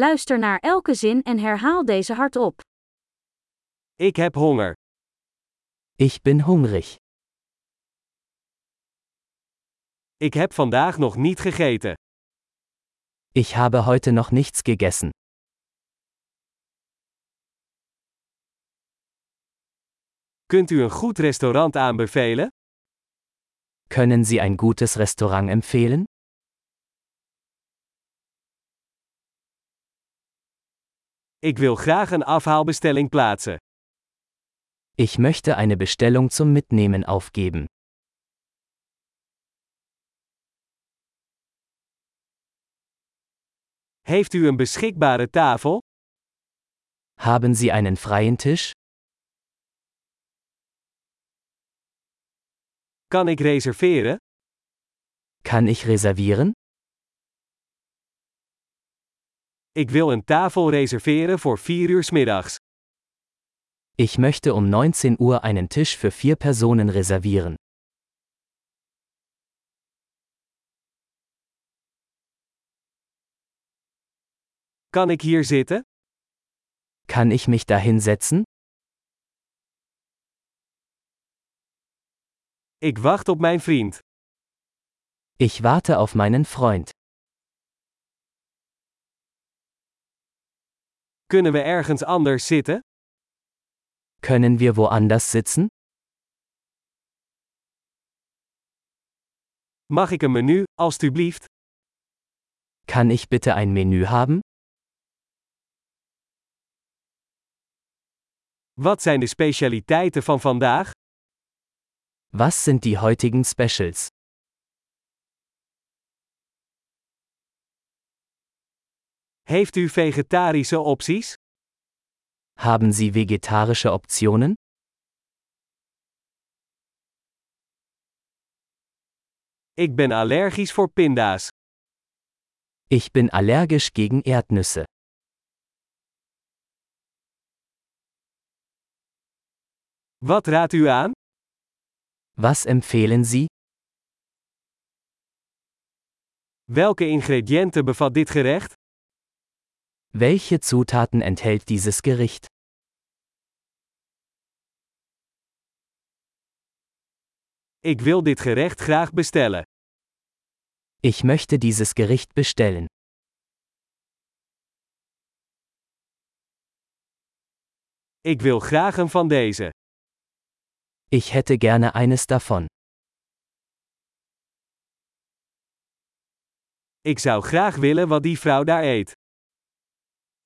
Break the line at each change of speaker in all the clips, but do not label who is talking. Luister naar elke zin en herhaal deze hardop.
Ik heb honger.
Ich bin hungrig.
Ik heb vandaag nog niet gegeten.
Ich habe heute noch nichts gegessen.
Kunt u een goed restaurant aanbevelen?
Können Sie ein gutes Restaurant empfehlen?
Ik wil graag een afhaalbestelling plaatsen.
Ich möchte eine Bestellung zum Mitnehmen aufgeben.
Heeft u een beschikbare tafel?
Haben Sie einen freien Tisch?
Kan ik reserveren?
Kann ich reservieren?
Ik wil een tafel reserveren voor 4 uur 's middags.
Ich möchte um 19 Uhr einen Tisch für vier Personen reservieren.
Kan ik hier zitten?
Kann ich mich dahin setzen?
Ik wacht op mijn vriend.
Ich warte auf meinen Freund.
Kunnen we ergens anders zitten?
Können wir woanders sitzen?
Mag ik een menu, alstublieft?
Kann ich bitte ein Menü haben?
Wat zijn de specialiteiten van vandaag?
Was sind die heutigen Specials?
Heeft u vegetarische opties?
Haben Sie vegetarische Optionen?
Ik ben allergisch voor pinda's.
Ich bin allergisch gegen Erdnüsse.
Wat raadt u aan?
Was empfehlen Sie?
Welke ingrediënten bevat dit gerecht?
Welche Zutaten enthält dieses Gericht?
Ik wil dit gerecht graag bestellen.
Ich möchte dieses Gericht bestellen.
Ik wil graag een van deze.
Ich hätte gerne eines davon.
Ik zou graag willen wat die vrouw daar eet.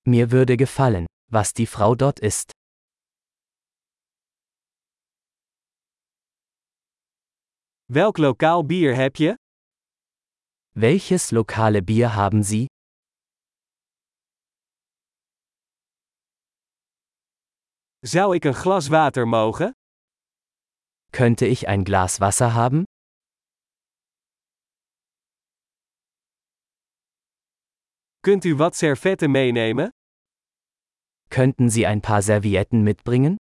Mir würde gefallen, was die Frau dort isst.
Welk lokaal bier heb je?
Welches lokale Bier haben Sie?
Zou ik een glas water mogen?
Könnte ich ein Glas Wasser haben?
Kunt u wat servetten meenemen?
Könnten Sie ein paar Servietten mitbringen?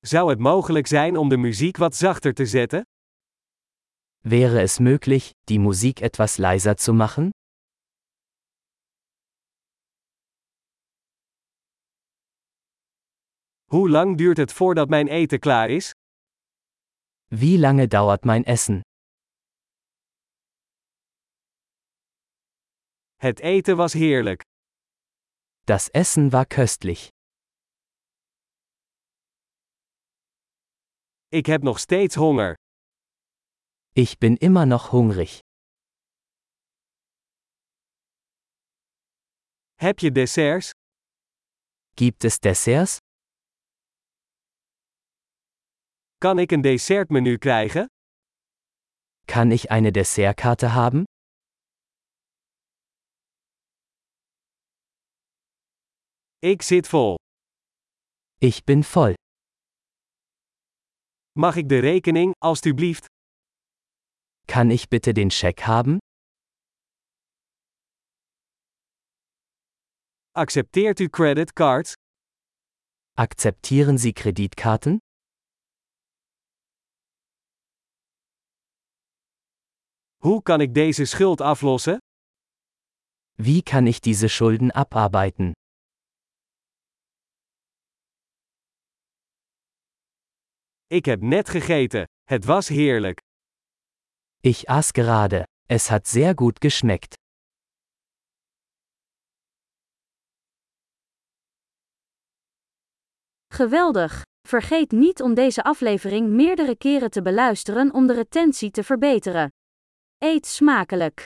Zou het mogelijk zijn om de muziek wat zachter te zetten?
Wäre es möglich, die Musik etwas leiser zu machen?
Hoe lang duurt het voordat mijn eten klaar is?
Wie lange dauert mein Essen?
Het eten was heerlijk.
Das Essen war köstlich.
Ik heb nog steeds honger.
Ich bin immer nog hungrig.
Heb je desserts?
Gibt es Desserts?
Kan ik een dessertmenu krijgen?
Kann ich eine Dessertkarte haben?
Ik zit vol.
Ich bin voll.
Mag ik de rekening, alstublieft?
Kann ich bitte den Scheck haben?
Accepteert u creditcards?
Akzeptieren Sie Kreditkarten?
Hoe kan ik deze schuld aflossen?
Wie kann ich diese Schulden abarbeiten?
Ik heb net gegeten. Het was heerlijk.
Ich aß gerade. Es hat sehr gut geschmeckt.
Geweldig! Vergeet niet om deze aflevering meerdere keren te beluisteren om de retentie te verbeteren. Eet smakelijk!